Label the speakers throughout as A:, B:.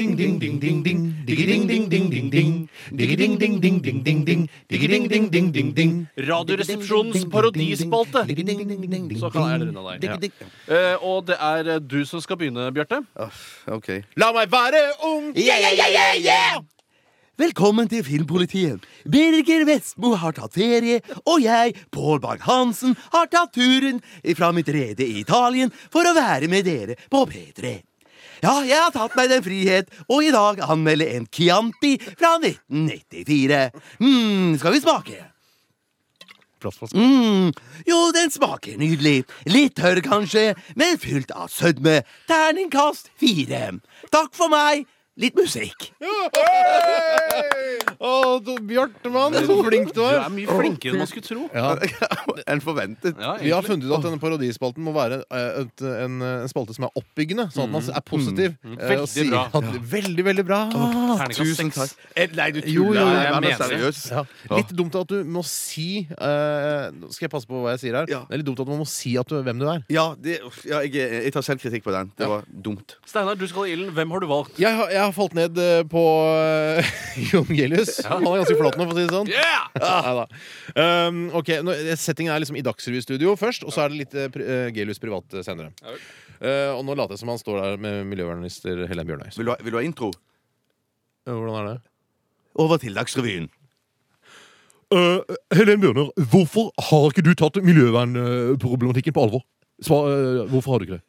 A: Diggi-ding-ding-ding-ding-ding-ding. Diggi-ding-ding-ding-ding-ding. Diggi-ding-ding-ding-ding-ding-ding. Diggi-ding-ding-ding-ding-ding.
B: Radioresepsjonens parodispalte. Så kan jeg runde av deg. Eh, og det er eh, du som skal begynne, Bjarte.
C: OK.
A: La meg være ung!
C: Velkommen til Filmpolitiet. Birger Vestmo har tatt ferie, og jeg, Pål Bang-Hansen, har tatt turen fra mitt rede i Italien for å være med dere på P3. Ja, jeg har tatt meg den frihet, og i dag anmelde en Chianti fra 1994. mm, skal vi smake? Mm, jo, den smaker nydelig. Litt tørr, kanskje, men fylt av sødme. Terningkast fire. Takk for meg. Litt musikk.
A: Å, Bjartmann, så flink
B: Du er mye flinkere enn man skulle tro.
D: Ja.
C: Enn forventet.
B: Ja,
D: Vi har
B: egentlig.
D: funnet ut at denne parodispalten må være eh, et- en, en spalte som er oppbyggende, sånn at man er positiv. eh, og
B: Mm. Veldig
D: sier
B: bra.
D: at- Veldig, veldig bra.
B: Terningkast seks.
C: Eh, Nei, du
D: Jo, jo, jo,
C: tuller.
D: jeg
C: Vær nå
B: mener det.
C: seriøs.
D: Ja. Litt dumt at du må si eh, Nå Skal jeg passe på hva jeg sier her?
C: Ja.
D: Det er litt dumt at man må si at du, hvem du er.
C: Ja, det, uff, ja jeg, eh, jeg tar selv kritikk på den. Det var dumt.
B: Steinar, du skal i ilden. Hvem har du valgt?
D: Jeg har, jeg har falt ned eh, på uh, Jon Gelius. Han er ganske flott nå, for å si det sånn. Neida. Um, ok, nå, Settingen er liksom i Dagsrevy-studio først, og så er det litt eh, pri- eh, Gelius privat eh, senere. Eh, og nå later jeg som han står der med miljøvernminister Helen Bjørnøy. Så,
C: Vil du ha, vil du ha intro?
D: eh, hvordan er det?
C: Over til Dagsrevyen.
D: Eh, Helen Bjørner, hvorfor har ikke du tatt miljøvernproblematikken på alvor? eh, hvorfor har du ikke det?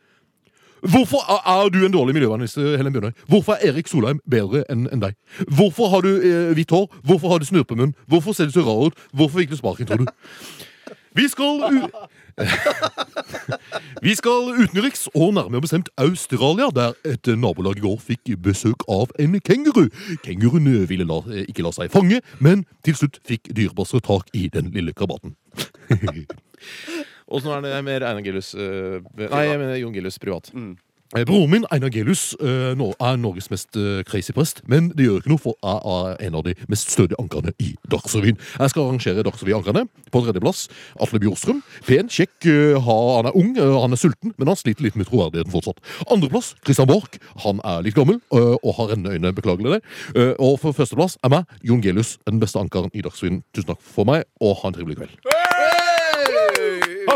D: Hvorfor er du en dårlig miljøvernminister, Helen Bjørnøy? Hvorfor er Erik Solheim bedre enn deg? Hvorfor har du eh, hvitt hår? Hvorfor har du snurpemunn? Hvorfor ser du så rar ut? Hvorfor fikk du sparken, tror du? Vi skal u Vi skal utenriks, og nærmere bestemt Australia, der et nabolag i går fikk besøk av en kenguru. Kenguruen eh, ville la, ikke la seg fange, men til slutt fikk dyrepassere tak i den lille krabaten. Åssen er det med Einar Gelius eh, Nei, jeg mener Jon Gelius privat. Eh, Broren min, Einar Gelius, eh, nå er Norges mest eh, crazy prest. Men det gjør ikke noe, for jeg er en av de mest stødige ankerne i Dagsrevyen. Jeg skal arrangere Dagsrevy-ankerne. På tredjeplass Atle Bjorstrøm. Pen, kjekk, eh, ha- han er ung, eh, han er sulten, men han sliter litt med troverdigheten fortsatt. Andreplass Christian Borch. Han er litt gammel eh, og har rennende øyne, beklager det. Eh, Og for førsteplass er meg, Jon Gelius, den beste ankeren i Dagsrevyen. Tusen takk for meg, og ha en trivelig kveld.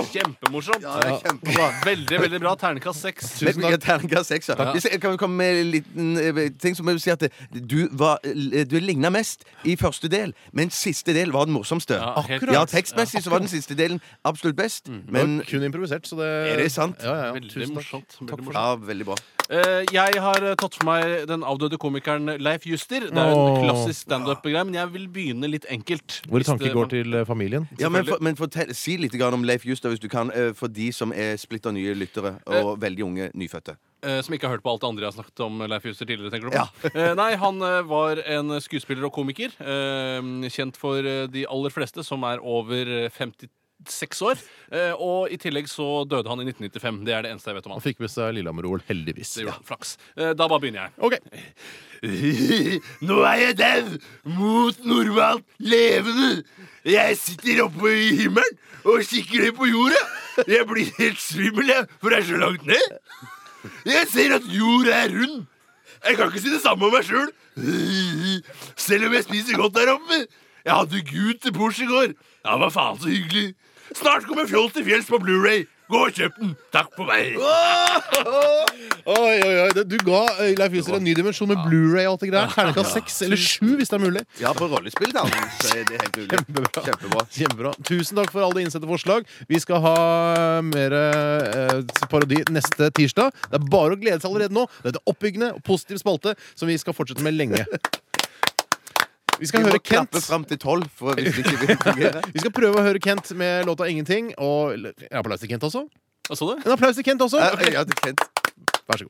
B: Kjempemorsomt.
C: Ja, det er kjempebra.
B: Veldig, veldig bra. Terningkast seks.
C: Men jeg terningkast seks. ja. Hvis jeg Kan vi komme med en liten eh, ting som jeg vil si at eh, du, var, eh, du ligna mest i første del, men siste del var den morsomste.
B: Ja, helt
C: Ja, Mm.
B: rett.
C: tekstmessig så var den siste delen absolutt best, men
D: Det var kun improvisert, så det
C: Er det sant?
D: Ja, ja, ja.
B: Veldig
D: Tusen takk.
B: morsomt. Veldig morsomt.
C: Ja, veldig bra.
B: Eh, jeg har eh, tatt for meg den avdøde komikeren Leif Juster. Det er jo en
D: Åh.
B: klassisk standup-greie, men jeg vil begynne litt enkelt.
D: Våre
B: Hvis det-
D: tanker går til eh, familien.
C: Ja, men for, men fortell, si litt grann om Leif Juster, hvis du kan, eh, for de som er splitter nye lyttere og veldig unge nyfødte.
B: Eh, som ikke har hørt på alt det andre jeg har snakket om Leif Juster tidligere, tenker du på?
C: Ja.
B: Eh, nei, han eh, var en skuespiller og komiker. eh, kjent for eh, de aller fleste som er over eh, 56 år. Eh, og i tillegg så døde han i 1995. Det er det eneste jeg vet om han.
D: Han fikk med seg Lillehammer-OL, heldigvis.
B: Det gjorde han. Flaks. Eh, da bare begynner jeg.
D: Ok.
C: Nå er jeg dau, mot normalt levende. Jeg sitter oppe i himmelen og kikker ned på jorda. Jeg blir helt svimmel, jeg, for det er så langt ned. Jeg ser at jorda er rund. Jeg kan ikke si det samme om meg sjøl. Selv om jeg spiser godt der oppe. Jeg hadde Gud til bords i går. Han var faen så hyggelig. Snart kommer Fjoll til fjells på Blu-ray Gå og kjøp den. Takk for meg.
D: Oi, oi, oi. det- Du ga eh, Leif Juster en ny dimensjon med Blu-ray og alt det greier. Terningkast seks eller sju, hvis det er mulig.
C: Ja, på rollespill, da. Så er det helt mulig.
D: Kjempebra.
C: Kjempebra.
D: Kjempebra. Tusen takk for alle innsendte forslag. Vi skal ha mer eh, parodi neste tirsdag. Det er bare å glede seg allerede nå. Dette er oppbyggende og positiv spalte som vi skal fortsette med lenge. Vi skal
C: Vi må
D: høre
C: klappe
D: Kent.
C: fram til tolv, for hvis det ikke vil fungere.
D: Vi skal prøve å høre Kent med låta 'Ingenting'. Og eller, en applaus til Kent også.
B: Hva sa du?
D: En applaus til Kent også.
C: Ja, ja, det er Kent.
D: Vær så god.